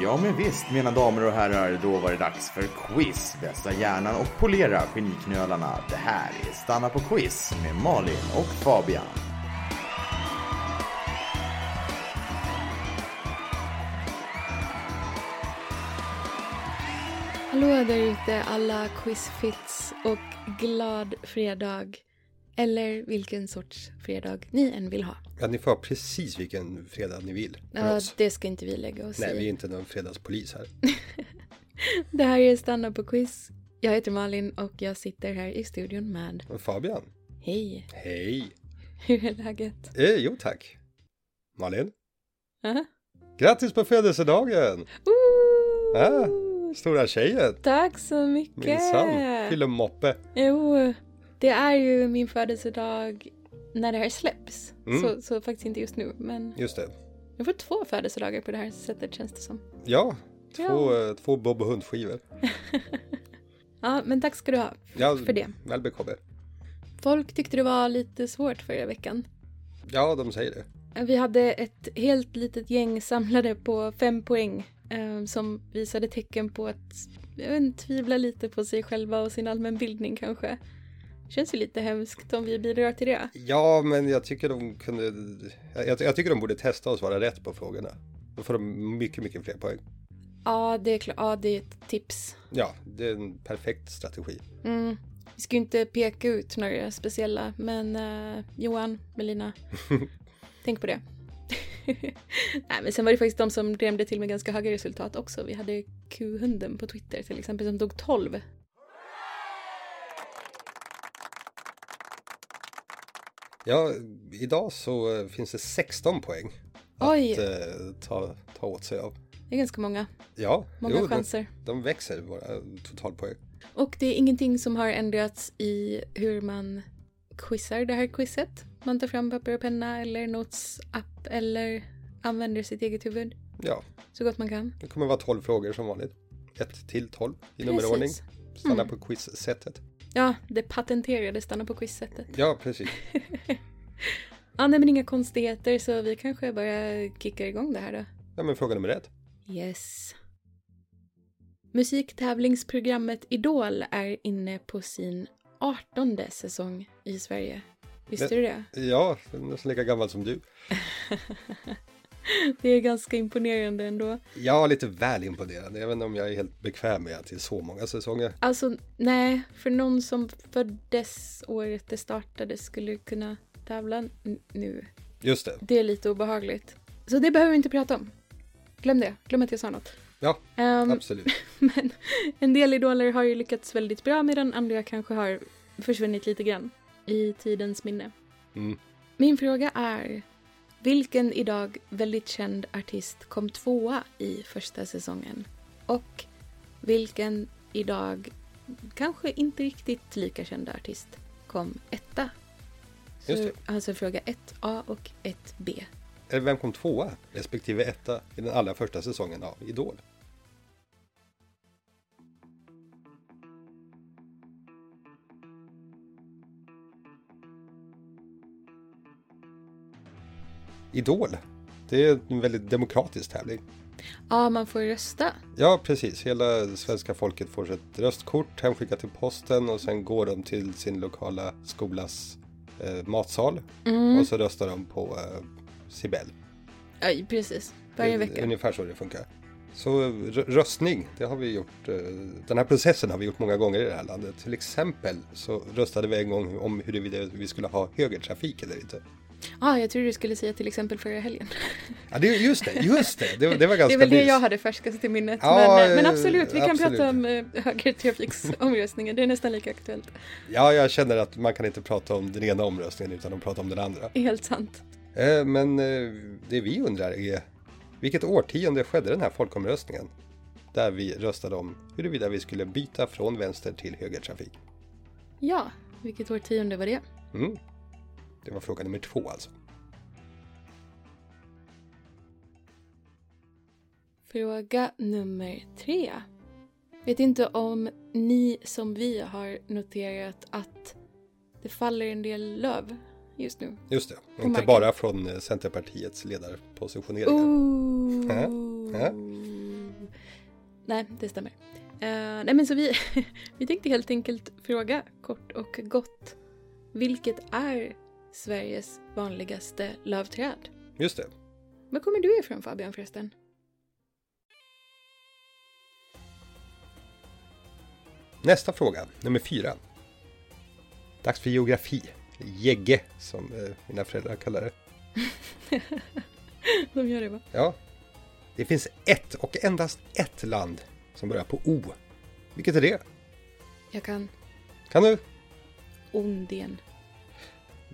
Ja, men visst, mina damer och herrar, då var det dags för quiz. Vässa hjärnan och polera geniknölarna. Det här är Stanna på quiz med Malin och Fabian. Hallå där ute alla quizfits och glad fredag. Eller vilken sorts fredag ni än vill ha. Ja, ni får ha precis vilken fredag ni vill. för Ja, oss. det ska inte vi lägga oss Nej, vi är i. inte någon fredagspolis här. Det här är Stanna på quiz. Jag heter Malin och jag sitter här i studion med Men Fabian, Hej, hej! hur är läget? Eh, jo tack. Malin, Aha. grattis på födelsedagen! Ooh, Ah, stora tjejen, Tack så mycket! minsann, fyller moppe. Jo, det är ju min födelsedag när det här släpps. Mm. Så, så faktiskt inte just nu, men Just det. jag får två födelsedagar på det här sättet känns det som. Ja, två, Ja. eh, två Bob och Hund-skivor. Ja, men tack ska du ha Ja, för det. Väl bekomme. Folk tyckte det var lite svårt förra veckan. Ja, de säger det. Vi hade ett helt litet gäng samlade på fem poäng eh, som visade tecken på att jag vet inte, tvivla lite på sig själva och sin allmänbildning kanske. Känns ju lite hemskt om vi bidrar till det. Ja, men jag tycker de kunde... Jag, jag, jag tycker de borde testa och svara rätt på frågorna. Då får de mycket, mycket fler poäng. Ja, det är klart. Ja, det är ett tips. Ja, det är en perfekt strategi. Mm. Vi ska ju inte peka ut några speciella, men eh, Johan, Melina, tänk på det. Nej, men sen var det faktiskt de som drömde till med ganska höga resultat också. Vi hade Q-hunden på Twitter till exempel som tog 12. Ja, idag så eh, finns det 16 poäng Oj, att eh, ta, ta åt sig av. det är ganska många, Ja, många jo, de, chanser. de växer våra totalpoäng. Och det är ingenting som har ändrats i hur man quizar det här quizet. Man tar fram papper och penna eller notes-app eller använder sitt eget huvud Ja, så gott man kan. det kommer vara 12 frågor som vanligt. 1 till 12 i nummerordning. Precis. Mm. Stanna på quiz-sättet. Ja, det patenterade stanna på quizsättet. Ja, precis. Ja, nej men inga konstigheter så vi kanske bara kickar igång det här då. Ja, men fråga nummer ett. Yes. Musiktävlingsprogrammet Idol är inne på sin 18 säsong i Sverige. Visste Det- du det? Ja, den är nästan lika gammal som du. Det är ganska imponerande ändå. Ja, lite väl imponerande. Jag vet inte om jag är helt bekväm med att det är så många säsonger. Alltså, nej, för någon som föddes året det startade skulle kunna tävla n- nu. Just det. Det är lite obehagligt. Så det behöver vi inte prata om. Glöm det. Glöm att jag sa något. Ja, Ehm, absolut. Men en del idoler har ju lyckats väldigt bra medan andra kanske har försvunnit lite grann i tidens minne. Mm. Min fråga är, vilken idag väldigt känd artist kom tvåa i första säsongen? Och vilken idag kanske inte riktigt lika kända artist kom etta? Så, Just Alltså fråga 1A och 1B. Eller Vem kom tvåa respektive etta i den allra första säsongen av Idol? Idol. Det är en väldigt demokratisk tävling. Ja, man får rösta. Ja, precis. Hela svenska folket får sitt röstkort hemskickat till posten och sen går de till sin lokala skolas eh, matsal och så röstar de på eh, Sibel. Ja, precis. Varje Det är vecka. Ungefär så det funkar. Så eh, rö- röstning, det har vi gjort. eh, Den här processen har vi gjort många gånger i det här landet. Till exempel så röstade vi en gång om huruvida vi skulle ha högertrafik eller inte. Ja, jag trodde du skulle säga till exempel förra helgen. Ja, det, just det, just det, det, det var ganska Det är väl det nyss. jag hade färskast till minnet. Ja, men, eh, men eh, absolut, vi kan absolut. prata om eh, högertrafiksomröstningen. Det är nästan lika aktuellt. Ja, jag känner att man kan inte prata om den ena omröstningen utan att prata om den andra. Helt sant. Eh, Men eh, det vi undrar är vilket årtionde skedde den här folkomröstningen? Där vi röstade om huruvida vi skulle byta från vänster till högertrafik. Ja, vilket årtionde var det? Mm. Det var fråga nummer två alltså. Fråga nummer tre. Vet inte om ni som vi har noterat att det faller en del löv just nu. Just det, inte marken. Oh. bara från eh, Centerpartiets ledarpositioneringar. Ooh. Ja, ja. Nej, det stämmer. Eh, nej men så vi, vi tänkte helt enkelt fråga kort och gott. Vilket är Sveriges vanligaste lövträd? Just det. Var kommer du ifrån Fabian förresten? Nästa fråga, nummer fyra. Dags för geografi. Gegge, som eh, mina föräldrar kallar det. De gör det va? Ja. Det finns ett och endast ett land som börjar på O. Vilket är det? Jag kan Kan du? Ondien.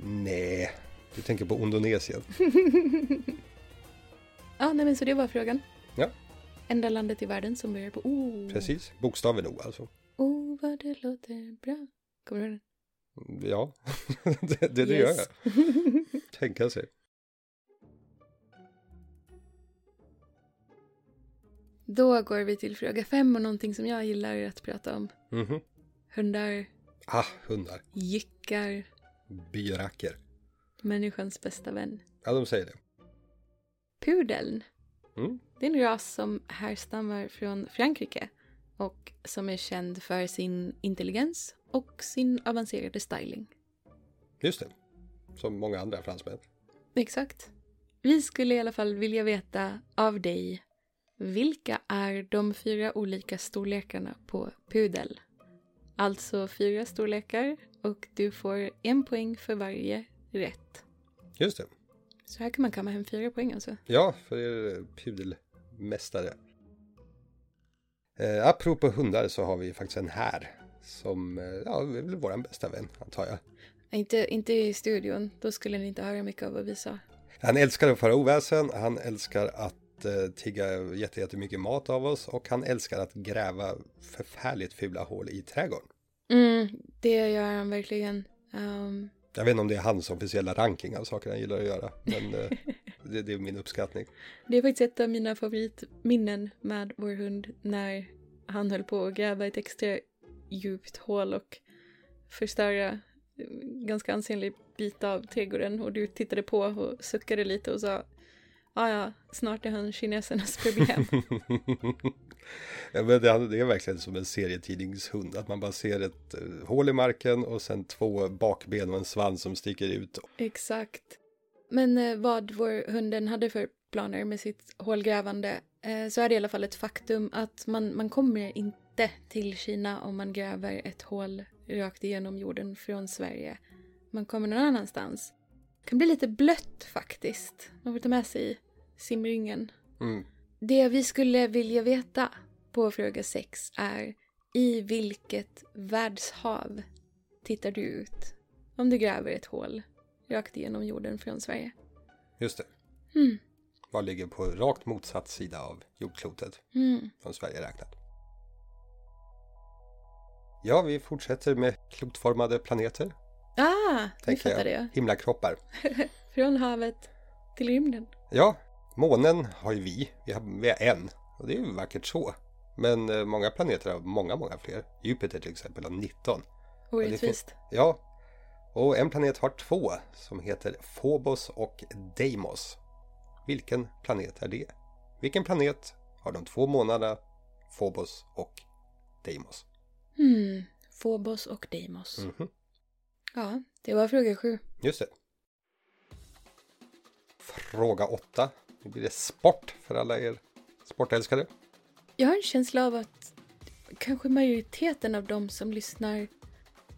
Nej, du tänker på Indonesien. Mm. Ja, nej men så det var frågan. Ja, Enda landet i världen som börjar på O. precis. Bokstaven O alltså. O, vad det låter bra. Kommer du ihåg den? Ja, det, det, det gör Yes. jag. Tänka sig. Då går vi till fråga fem och någonting som jag gillar att prata om. Mhm. Hundar, Ah, hundar. jyckar, Byracker. människans bästa vän. Ja, de säger det. Pudeln. Mm. Det är en ras som härstammar från Frankrike och som är känd för sin intelligens och sin avancerade styling. Just det. Som många andra fransmän. Exakt. Vi skulle i alla fall vilja veta av dig vilka är de fyra olika storlekarna på pudel? Alltså fyra storlekar och du får en poäng för varje rätt. Just det. Så här kan man kamma hem fyra poäng alltså. Ja, för er eh, pudelmästare. Eh, apropå hundar så har vi faktiskt en här. Som, eh, ja, är väl våran bästa vän, antar jag. Inte, inte i studion, då skulle ni inte höra mycket av vad vi sa. Han älskar att föra oväsen, han älskar att eh, tigga jätte- jättemycket mat av oss och han älskar att gräva förfärligt fula hål i trädgården. Mm, det gör han verkligen. Ehm, Jag vet inte om det är hans officiella ranking av saker han gillar att göra, men eh, det, det är min uppskattning. det är faktiskt ett av mina favoritminnen med vår hund när han höll på att gräva ett extra djupt hål och förstöra en ganska ansenlig bit av trädgården och du tittade på och suckade lite och sa ja, ja, snart är han kinesernas problem. ja, men det, det är verkligen som en serietidningshund, att man bara ser ett eh, hål i marken och sen två bakben och en svans som sticker ut. Exakt. Men eh, vad vår hunden hade för planer med sitt hålgrävande eh, så är det i alla fall ett faktum att man, man kommer inte till Kina om man gräver ett hål rakt igenom jorden från Sverige. Man kommer någon annanstans. Det kan bli lite blött faktiskt. Man får ta med sig simringen. Mm. Det vi skulle vilja veta på fråga sex är i vilket världshav tittar du ut om du gräver ett hål rakt igenom jorden från Sverige? Just det, Mm. vad ligger på rakt motsatt sida av jordklotet? Mm. från Sverige räknat. Ja, vi fortsätter med klotformade planeter. Ah, nu tänker fattade jag. Himlakroppar. Från havet till rymden. Ja, månen har ju vi. Vi har, vi har en. Och det är ju vackert så. Men eh, många planeter har många, många fler. Jupiter till exempel har 19. Orättvist. Ja, och en planet har två som heter Phobos och Deimos. Vilken planet är det? Vilken planet har de två månaderna Phobos och Deimos? Hmm. Phobos och Deimos. Mhm. Ja, det var fråga sju. Just det. Fråga 8. Nu blir det sport för alla er sportälskare. Jag har en känsla av att kanske majoriteten av de som lyssnar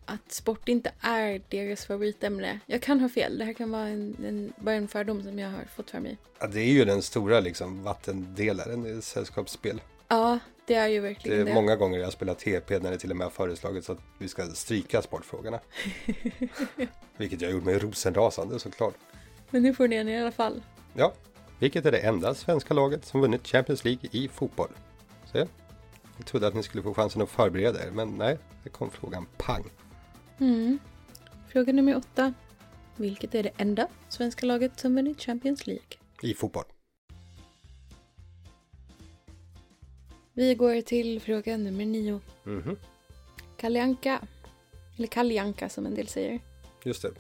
att sport inte är deras favoritämne. Jag kan ha fel, det här kan vara en, en, bara en fördom som jag har fått för mig. Ja, det är ju den stora liksom, vattendelaren i sällskapsspel. Ja, det är ju Det verkligen är det. många gånger jag spelar TP när det till och med har föreslagits att vi ska stryka sportfrågorna. Vilket jag gjorde mig rosenrasande såklart. Men nu får ni en i alla fall. Ja, vilket är det enda svenska laget som vunnit Champions League i fotboll? Se, jag trodde att ni skulle få chansen att förbereda er, men nej, det kom frågan pang. Fråga nummer åtta. Vilket är det enda svenska laget som vunnit Champions League? I fotboll. Vi går till fråga nummer nio. Mhm, Kalle Anka. Eller Kalle Anka som en del säger. just det.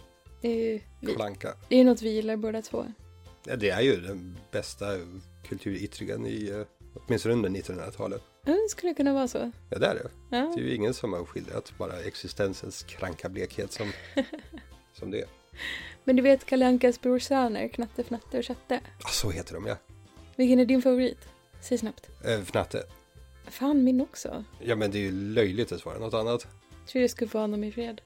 Det är ju vi. Kalanka. Det är något vi gillar båda två. Ja, det är ju den bästa kulturyttringen i eh, Åtminstone under 1900-talet. Ja, det skulle kunna vara så. Ja, det är det. Ja. Det är ju ingen som har skildrat bara existensens kranka blekhet som, som det är. Men du vet Kalle Ankas brorsöner, Knatte, Fnatte och Tjatte? Ah, så heter de ja. Vilken är din favorit? Säg snabbt. Eh, Fnatte. Fan, min också. Ja, men det är ju löjligt att svara något annat. Tror jag skulle få honom i fred.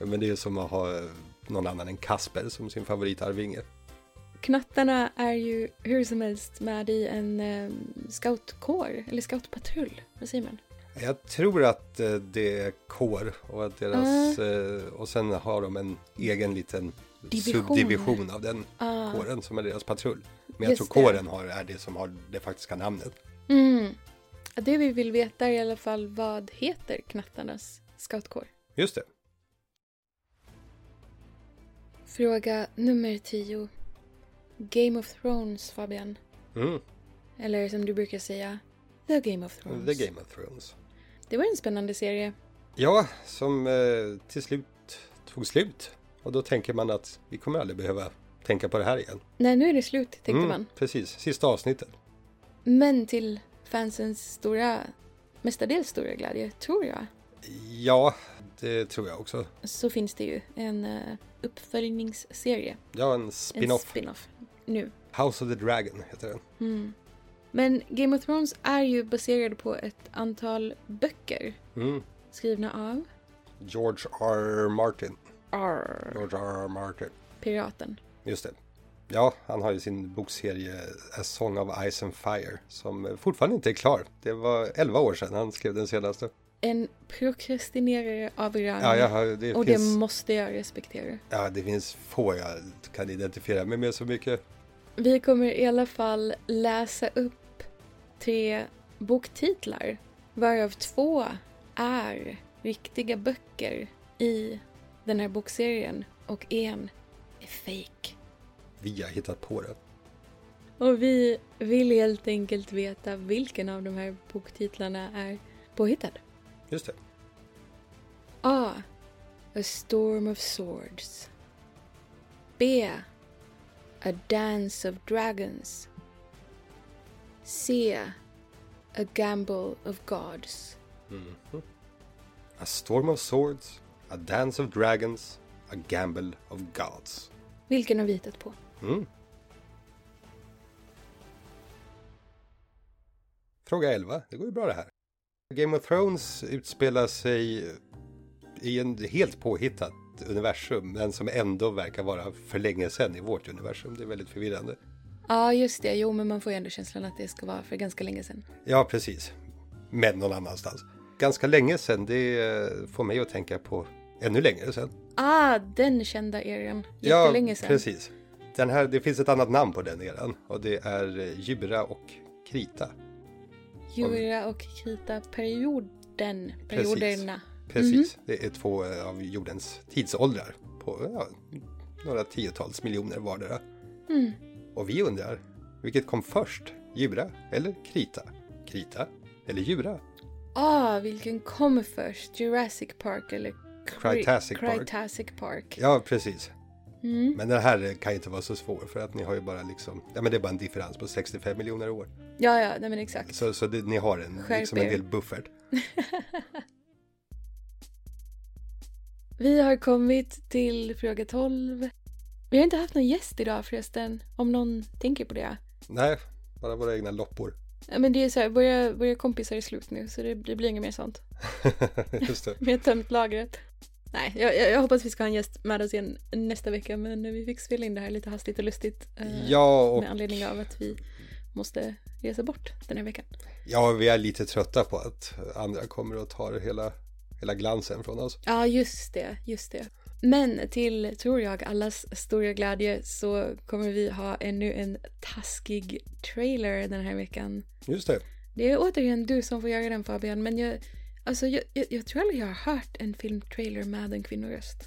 Ja, Men det är ju som att ha eh, någon annan än Kasper som sin favoritarvinge. Knattarna är ju hur som helst med i en eh, scoutkår, eller scoutpatrull. Vad säger man? Jag tror att eh, det är kår och att deras... eh, Och sen har de en egen liten Mm. Division. subdivision av den Ah. kåren som är deras patrull. Men jag Just tror det. kåren har, är det som har det faktiska namnet. Mm. Ja, Det vi vill veta är i alla fall vad heter Knattarnas scoutkår? Just det. Fråga nummer 10. Game of Thrones, Fabian. Mm. Eller som du brukar säga, The Game of Thrones. The Game of Thrones. Det var en spännande serie. Ja, som eh, till slut tog slut. Och då tänker man att vi kommer aldrig behöva tänka på det här igen. Nej, nu är det slut, tänkte Mm, man. Precis, sista avsnittet. Men till fansens stora, mestadels stora glädje, tror jag, Ja, det tror jag också. så finns det ju en eh, uppföljningsserie. Ja, en En spin-off. spin-off. Nu. House of the Dragon heter den. Men Game of Thrones är ju baserad på ett antal böcker Mm. skrivna av George R. Martin. Arr, George R. R. Martin. piraten. Just det. Ja, han har ju sin bokserie A Song of Ice and Fire som fortfarande inte är klar. Det var 11 år sedan han skrev den senaste. En prokrastinerare av rang. Ja, jag har, det, Mm. och finns, det måste jag respektera. ja, det finns få jag kan identifiera mig med så mycket. Vi kommer i alla fall läsa upp tre boktitlar varav två är riktiga böcker i den här bokserien och en är fake. Vi har hittat på det. Och vi vill helt enkelt veta vilken av de här boktitlarna är påhittad. Just det. A. A Storm of Swords. B. A Dance of Dragons. C. A Gamble of Gods. A Storm of Swords, A Dance of Dragons, A Gamble of Gods. Vilken har vi hittat på? Mm. Fråga 11, det går ju bra det här. Game of Thrones utspelar sig i en helt påhittat universum, men som ändå verkar vara för länge sedan i vårt universum. Det är väldigt förvirrande. Ja, just det. Jo, men man får ju ändå känslan att det ska vara för ganska länge sedan. Ja, precis. Men någon annanstans. Ganska länge sedan, det eh, får mig att tänka på ännu längre sedan. Ah, den kända eran. Jättelänge sedan. Ja, precis. Den här, det finns ett annat namn på den eran och det är eh, Jura och Krita. Jura och Krita-perioden. Perioderna. Precis, Mhm. det är två eh, av jordens tidsåldrar på ja, några tiotals miljoner vardera. Mm. Och vi undrar, vilket kom först? Jura eller Krita? Krita eller Jura? Ah, vilken kom först? Jurassic Park eller Cri- Cretacic Park. Cretacic Park. Ja, precis. Mm. Men den här eh, kan ju inte vara så svår för att ni har ju bara liksom, ja men det är bara en differens på 65 miljoner år. Ja, ja, nej men exakt. Så, så det, ni har en, Skärp liksom en er. del buffert. Vi har kommit till fråga 12. Vi har inte haft någon gäst idag förresten, om någon tänker på det. Nej, bara våra egna loppor. Ja, Men det är så här, våra, våra kompisar är slut nu så det, det blir inget mer sånt. Just det. Vi har tömt lagret. Nej, jag, jag, jag hoppas vi ska ha en gäst med oss igen nästa vecka men vi fick spela in det här lite hastigt och lustigt. eh, Ja, och Med anledning av att vi måste resa bort den här veckan. ja, vi är lite trötta på att andra kommer och tar hela, hela glansen från oss. Ja, just det, just det. Men till, tror jag, allas stora glädje så kommer vi ha ännu en taskig trailer den här veckan. Just det. Det är återigen du som får göra den Fabian, men jag, alltså, jag, jag, jag tror aldrig jag har hört en filmtrailer med en kvinnoröst.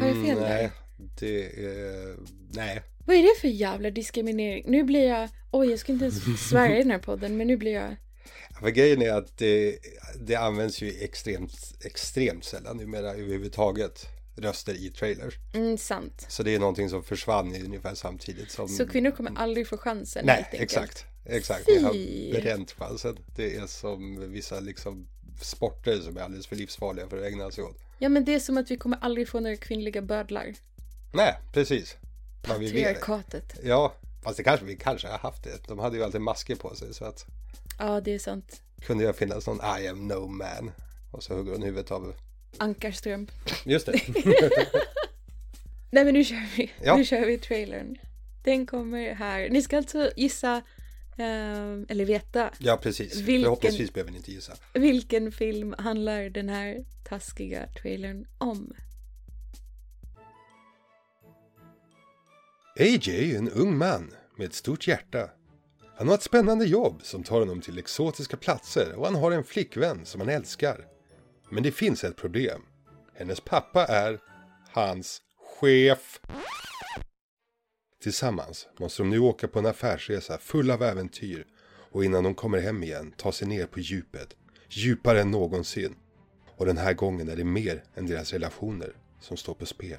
Har jag fel där? Mm, nej, det är... Nej. Vad är det för jävla diskriminering? Nu blir jag, oj jag ska inte ens svära i den här podden, men nu blir jag, För grejen är att det, det används ju extremt, extremt sällan numera överhuvudtaget röster i trailers. mm, sant. Så det är någonting som försvann i ungefär samtidigt som... Så kvinnor kommer aldrig få chansen Mm. nej, helt enkelt. exakt. Exakt, Fy. jag har bränt chansen. Det är som vissa liksom sporter som är alldeles för livsfarliga för att ägna sig åt. Ja men det är som att vi kommer aldrig få några kvinnliga bödlar. Nej, precis. Men vi vet. Patriarkatet. Ja, fast det kanske vi kanske har haft det. De hade ju alltid masker på sig så att Ja det är sant. kunde jag finnas någon I am no man. Och så hugger hon huvudet av. Ankarström. Just det. Nej men nu kör vi. Ja. Nu kör vi trailern. Den kommer här. Ni ska alltså gissa, eh, eller veta, Ja, precis. Vilken- Förhoppningsvis behöver ni inte gissa. vilken film handlar den här taskiga trailern om? AJ är en ung man med ett stort hjärta. Han har ett spännande jobb som tar honom till exotiska platser och han har en flickvän som han älskar. Men det finns ett problem. Hennes pappa är hans chef. Tillsammans måste de nu åka på en affärsresa full av äventyr och innan de kommer hem igen ta sig ner på djupet, djupare än någonsin. Och den här gången är det mer än deras relationer som står på spel.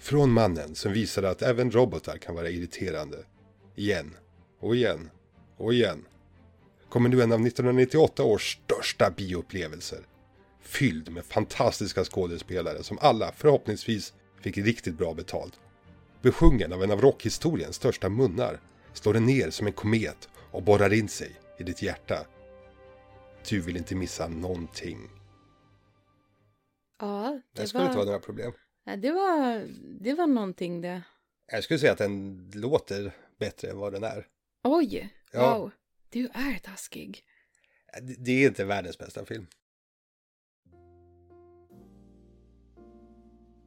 Från mannen som visade att även robotar kan vara irriterande. Igen. Och igen. Och igen. Kommer nu en av 1998 års största bioupplevelser. Fylld med fantastiska skådespelare som alla förhoppningsvis fick riktigt bra betalt. Besjungen av en av rockhistoriens största munnar slår den ner som en komet och borrar in sig i ditt hjärta. Du vill inte missa någonting. Ja, Det det skulle inte vara var, några problem. ja, det var, det var någonting det. Jag skulle säga att den låter bättre än vad den är. Oj, Ja. wow. Du är taskig. Det det är inte världens bästa film.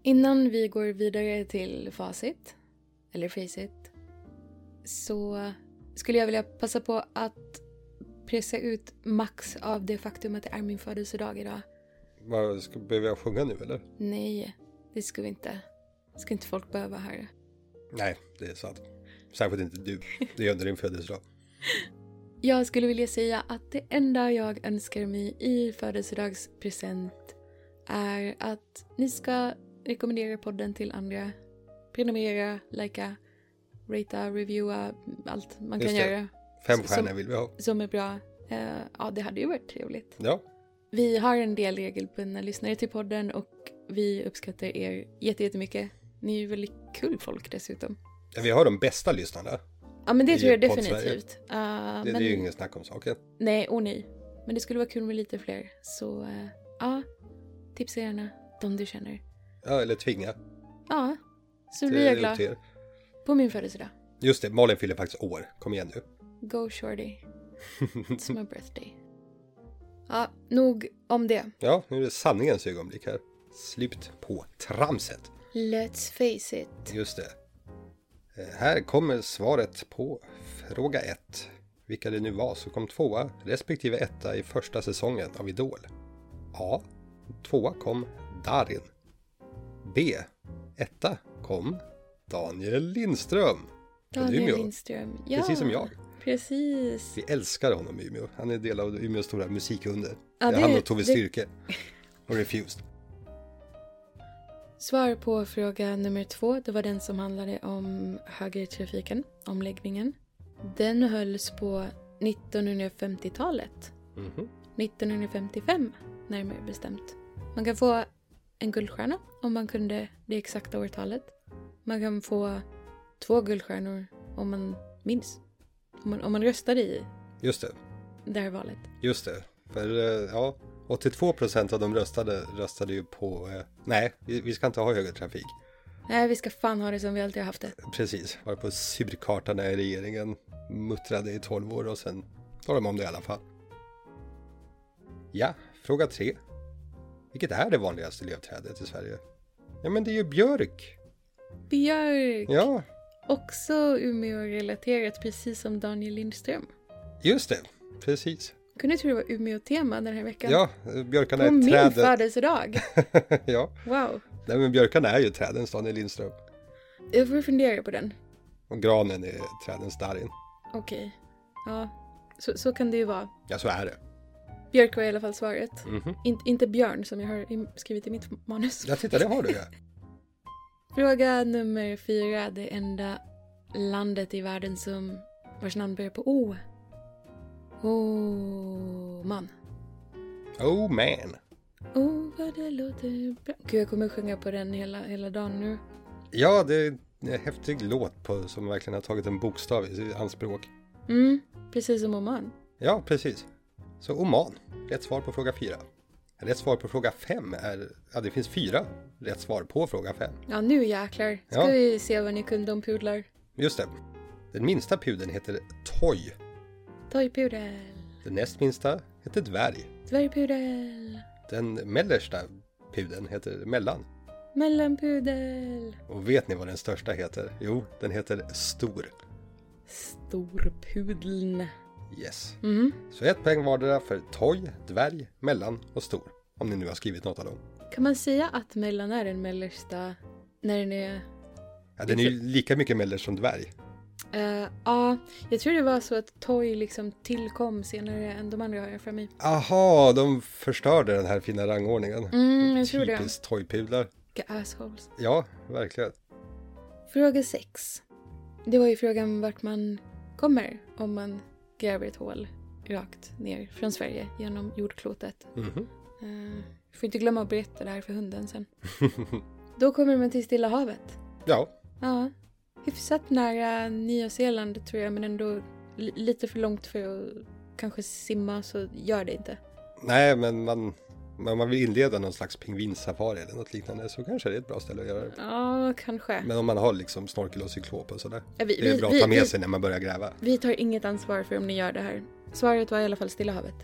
Innan vi går vidare till facit, eller facit, så skulle jag vilja passa på att pressa ut max av det faktum att det är min födelsedag idag. Vad, ska, behöver jag sjunga nu eller? Nej, det ska vi inte. Det ska inte folk behöva höra. Nej, det är sant. Särskilt inte du. Det är under din födelsedag. Jag skulle vilja säga att det enda jag önskar mig i födelsedagspresent är att ni ska rekommendera podden till andra. Prenumerera, likea, ratea, reviewa, allt man Just kan det. göra Fem Som- stjärnor vill vi ha. som är bra. Eh, ja, det hade ju varit trevligt. Ja, Vi har en del regelbundna lyssnare till podden och vi uppskattar er jätte- jättemycket. Ni är ju väldigt kul folk dessutom. Ja, vi har de bästa lyssnarna. Ja, men det I tror jag Podd-Sverige. definitivt. Uh, Det, men... det är ju ingen snack om saken. Nej, och nej. Men det skulle vara kul med lite fler. Så eh, ja, tipsa gärna de du känner. Ja, eller tvinga. Ja, så Det blir jag är upp glad till er. på min födelsedag. Just det, Malin fyller faktiskt år. Kom igen nu. Go shorty. It's my birthday. Ja, nog om det. Ja, nu är det sanningens ögonblick här. Slut på tramset. Let's face it. Just det. Eh, Här kommer svaret på fråga 1. Vilka det nu var som kom tvåa respektive etta i första säsongen av Idol? A. Tvåa kom Darin. B. Etta kom Daniel Lindström. från Daniel Umeå. Lindström. Ja, Precis som jag. Precis. Vi älskar honom i Umeå. Han är del av Umeås stora musikunder. Ja, det det- är han och Tove det- Styrke. Och Refused. Svar på fråga nummer två, det var den som handlade om högertrafiken, omläggningen. Den hölls på 1950-talet. Mhm. 1955 närmare bestämt. Man kan få en guldstjärna om man kunde det exakta årtalet. Man kan få två guldstjärnor om man minns. Om man, om man röstade i Just det. det här valet. Just det. För eh, ja, 82 procent av de röstade röstade ju på eh, nej, vi vi ska inte ha högertrafik. Nej, vi ska fan ha det som vi alltid har haft det. Precis, var på surkartarna i regeringen muttrade i 12 år och sen tar de om det i alla fall. Ja, fråga 3. Vilket är det vanligaste lövträdet i Sverige? Ja, men det är ju björk. Björk! Ja, Också Umeå-relaterat, precis som Daniel Lindström. just det. Precis. Jag kunde tro det var Umeå-tema den här veckan. Ja, björkarna På är min trädet. födelsedag! ja, Wow! nej, men björkarna är ju trädens Daniel Lindström. Jag får fundera på den. Och granen är trädens Darin. Okej. Ja, så, så kan det ju vara. Ja, så är det. Björk var i alla fall svaret. Mhm. In, inte björn som jag har i- skrivit i mitt manus. Ja, titta, det har du ju. Fråga nummer fyra. Det enda landet i världen som vars namn börjar på O. Oh, man. Oh man. Oh, vad det låter bra. Gud, jag kommer sjunga på den hela, hela dagen nu. Ja, det är en häftig låt på, som verkligen har tagit en bokstav i sitt anspråk. Mm, precis som Oman. Ja, precis. Så Oman, rätt svar på fråga fyra. Rätt svar på fråga fem är, ja det finns fyra rätt svar på fråga fem. Ja, nu jäklar. Ska Ja. vi se vad ni kunde om pudlar. Just det. Den minsta pudeln heter Toy. Toypudel, Den näst minsta heter Dvärg. dvärgpudel, Den mellersta pudeln heter Mellan. mellanpudel, Och vet ni vad den största heter? Jo, den heter Stor. storpudeln. Yes. Mm. Så ett poäng vardera för Toy, Dvärg, Mellan och Stor. Om ni nu har skrivit något av dem. Kan man säga att mellan är den mellersta när den är Ja, den är ju lika mycket mellers som dvärg. Eh, Ja, jag tror det var så att Toy liksom tillkom senare än de andra har jag för mig. Aha, de förstörde den här fina rangordningen. Mm, jag tror det. Typiskt toypudlar. Vilka assholes. Ja, verkligen. Fråga 6. Det var ju frågan vart man kommer om man gräver ett hål rakt ner från Sverige genom jordklotet. Mhm. Eh, får inte glömma att berätta det här för hunden sen. Då kommer man till Stilla havet. Ja, Ja, hyfsat nära Nya Zeeland tror jag men ändå li- lite för långt för att kanske simma så gör det inte. nej men man, men man vill inleda någon slags pingvinsafari eller något liknande så kanske det är ett bra ställe att göra det. Ja, kanske. Men om man har liksom snorkel och cyklop och sådär. Ja, vi- Det är vi- bra vi- att ta vi- med sig när man börjar gräva. Vi tar inget ansvar för om ni gör det här. Svaret var i alla fall Stilla havet.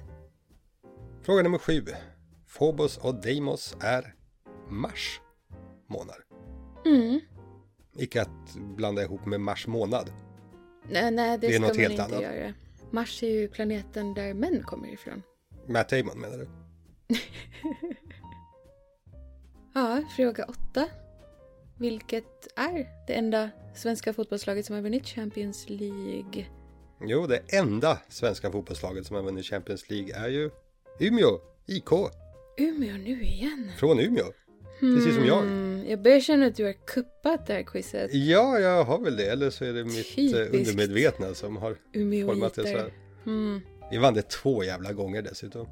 Fråga nummer sju. Phobos och Deimos är mars månad. Mm. Icke att blanda ihop med mars månad. Nej, nej det, Det är ska något man helt inte annat. göra. Mars är ju planeten där män kommer ifrån. Matt Damon menar du? Ja, fråga åtta. Vilket är det enda svenska fotbollslaget som har vunnit Champions League? Jo, det enda svenska fotbollslaget som har vunnit Champions League är ju Umeå IK Umeå nu igen? från Umeå. Precis som jag. Mm, jag börjar känna att du har kuppat det här quizet. Ja, jag har väl det. Eller så är det mitt eh, Typiskt. undermedvetna som har format det så Umeåiter. här. Mm, Vi vann det två jävla gånger dessutom.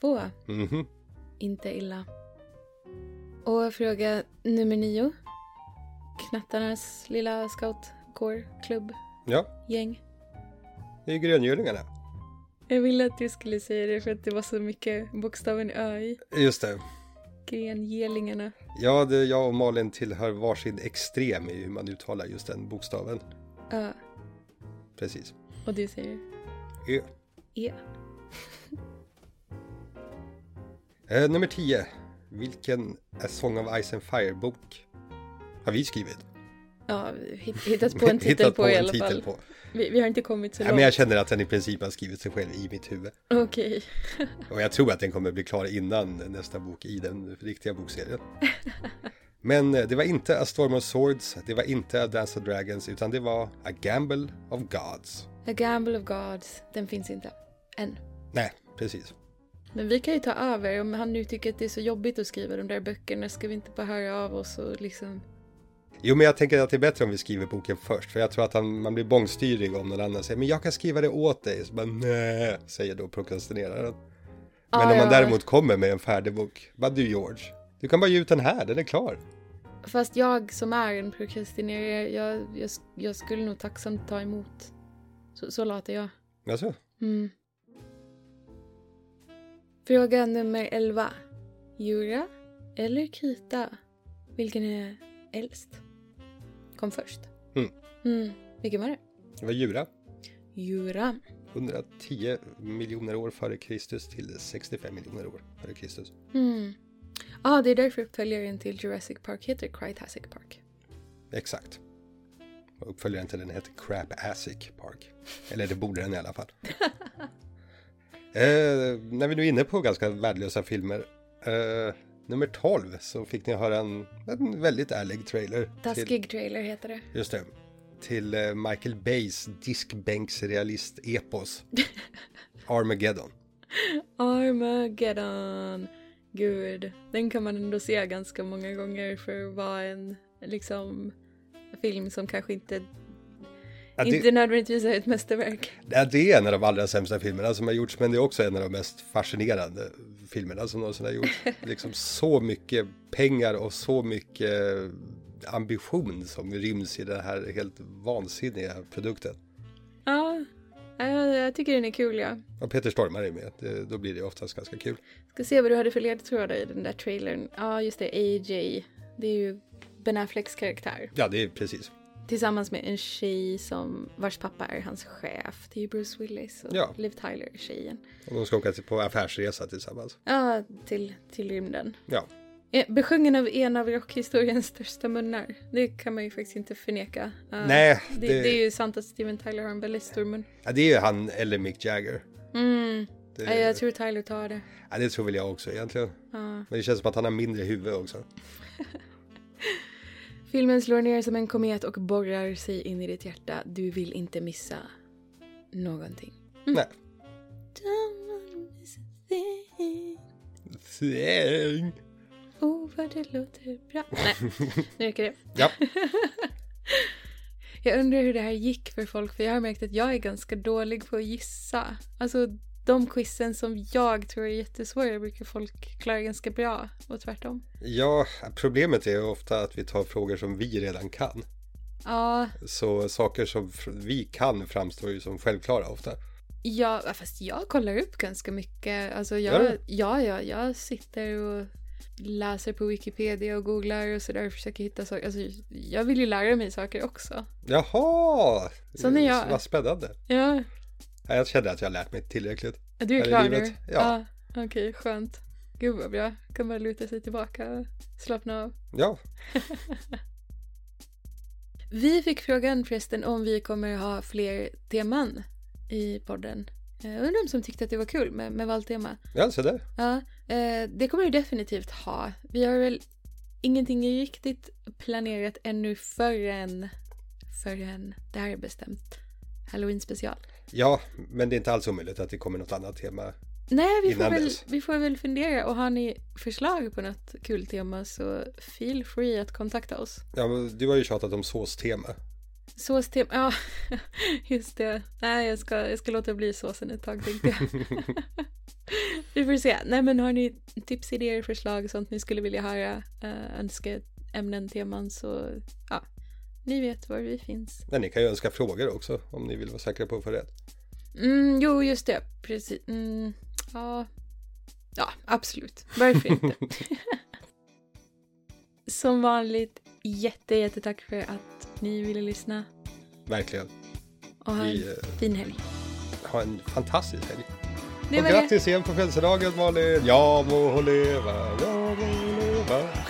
två. Mhm. Inte illa. Och fråga nummer nio. Knattarnas lilla scoutkår, klubb, Ja, gäng. det är ju Gröngölingarna. Jag ville att du skulle säga det för att det var så mycket bokstaven Ö i. Just det. Grengelingarna. Ja, det, jag och Malin tillhör varsin extrem i hur man uttalar just den bokstaven. Ö. Precis. Och du säger Ö. E. Eh, nummer 10. Vilken A Song of Ice and Fire bok har vi skrivit? Ja, hitt- hittat på en titel Hittat på, i alla fall. på. Vi, vi har inte kommit så Ja, långt. men jag känner att den i princip har skrivit sig själv i mitt huvud. Okej. Och jag tror att den kommer bli klar innan nästa bok i den riktiga bokserien. Men eh, det var inte A Storm of Swords, det var inte A Dance of Dragons, utan det var A Gamble of Gods. A Gamble of Gods. Den finns inte. Än. Nej, precis. Men vi kan ju ta över. Om han nu tycker att det är så jobbigt att skriva de där böckerna ska vi inte bara höra av oss och liksom... Jo, men jag tänker att det är bättre om vi skriver boken först, för jag tror att han, man blir bångstyrig om någon annan säger men jag kan skriva det åt dig. Så bara nej, säger då prokrastineraren. Men Ah, om man ja. däremot kommer med en färdig bok, bara du George, du kan bara ge ut den här, den är klar. Fast jag som är en prokrastinerare, jag, jag, jag skulle nog tacksamt ta emot. Så, så lat är jag. Alltså, Mm. Fråga nummer 11. Jura eller Krita? Vilken är äldst? Kom först. Mm. Mm. Vilken var det? det var Jura. Jura. 110 miljoner år före Kristus till 65 miljoner år före Kristus. Mm. ah, det är därför uppföljaren till Jurassic Park heter Cretacic Park. Exakt. Och uppföljaren till den heter Crap-Asic Park. Eller det borde den i alla fall. eh, när vi nu är inne på ganska värdelösa filmer. Eh, nummer 12 så fick ni höra en, en väldigt ärlig trailer. Till, Taskig trailer heter det. just det. Till eh, Michael Bays diskbänksrealist-epos. Armageddon. Armageddon. Gud, den kan man ändå se ganska många gånger för att vara en liksom film som kanske inte Ja, det- Inte nödvändigtvis är ett mästerverk. Ja, Det är en av de allra sämsta filmerna som har gjorts, men det är också en av de mest fascinerande filmerna som någonsin har gjorts. Liksom så mycket pengar och så mycket ambition som ryms i den här helt vansinniga produkten. Ja, ja, jag, jag tycker den är kul ja. Och Peter Stormare är med, det, då blir det oftast ganska kul. Ska se vad du hade för ledtrådar i den där trailern. Ja, just det, AJ. Det är ju Ben Afflecks karaktär. Ja, det är precis. Tillsammans med en tjej som, vars pappa är hans chef. Det är ju Bruce Willis och Ja. Liv Tyler, tjejen. Och de ska åka till- på affärsresa tillsammans. Ja, till, till rymden. Ja, Eh, Besjungen av en av rockhistoriens största munnar. Det kan man ju faktiskt inte förneka. Eh, Nej, det... det- Det, är ju sant att Steven Tyler har en väldigt stor mun. ja det är ju han eller Mick Jagger. Det, Nej, jag tror Tyler tar det. ja, det tror väl jag också egentligen. Ja. Men det känns som att han har mindre huvud också. Filmen slår ner som en komet och borrar sig in i ditt hjärta. Du vill inte missa någonting. Nej. Don't wanna miss a thing. Thing. Oh, vad det låter bra. Nej, nu räcker det. Ja, Jag undrar hur det här gick för folk, för jag har märkt att jag är ganska dålig på att gissa. Alltså, de quizen som jag tror är jättesvåra brukar folk klara ganska bra, och tvärtom. Ja, problemet är ju ofta att vi tar frågor som vi redan kan. Ja, Så saker som fr- vi kan framstår ju som självklara ofta. ja fast jag kollar upp ganska mycket. Alltså, Gör jag, du? ja, ja, jag sitter och läser på Wikipedia och googlar och sådär och försöker hitta saker. Alltså, jag vill ju lära mig saker också. Jaha! Sån är jag. Vad spännande. Ja, Ja, Jag kände att jag lärt mig tillräckligt. du är Här i klar livet? nu? Ja. ja Okej, skönt. Gud vad bra. Kan bara luta sig tillbaka och slappna av. Ja, Vi fick frågan förresten om vi kommer ha fler teman i podden. Eh, undrar om som tyckte att det var kul med, med valtema. ja så där. Ja, eh, det kommer vi definitivt ha. Vi har väl ingenting riktigt planerat ännu förrän, förrän det här är bestämt. Halloween special. Ja, men det är inte alls omöjligt att det kommer något annat tema. Nej, vi får, Innan väl, dess. vi får väl fundera och har ni förslag på något kul tema så feel free att kontakta oss. Ja, men du har ju tjatat om såstema. Såstema, ja just det. Nej jag ska, jag ska låta bli såsen ett tag tänkte jag. Vi får se. Nej men har ni tips, idéer, förslag och sånt ni skulle vilja höra, eh, önska ämnen, teman så ja, ni vet var vi finns. Men ni kan ju önska frågor också om ni vill vara säkra på att få rätt. Mm, jo just det, precis. Mm, ja. ja, absolut. Varför inte? Som vanligt, jätte, jättetack för att ni ville lyssna Verkligen. och ha Vi en eh, fin helg. har en fantastisk helg. Det Och var det. grattis igen på födelsedagen Malin! Ja må hon leva, ja må hon leva.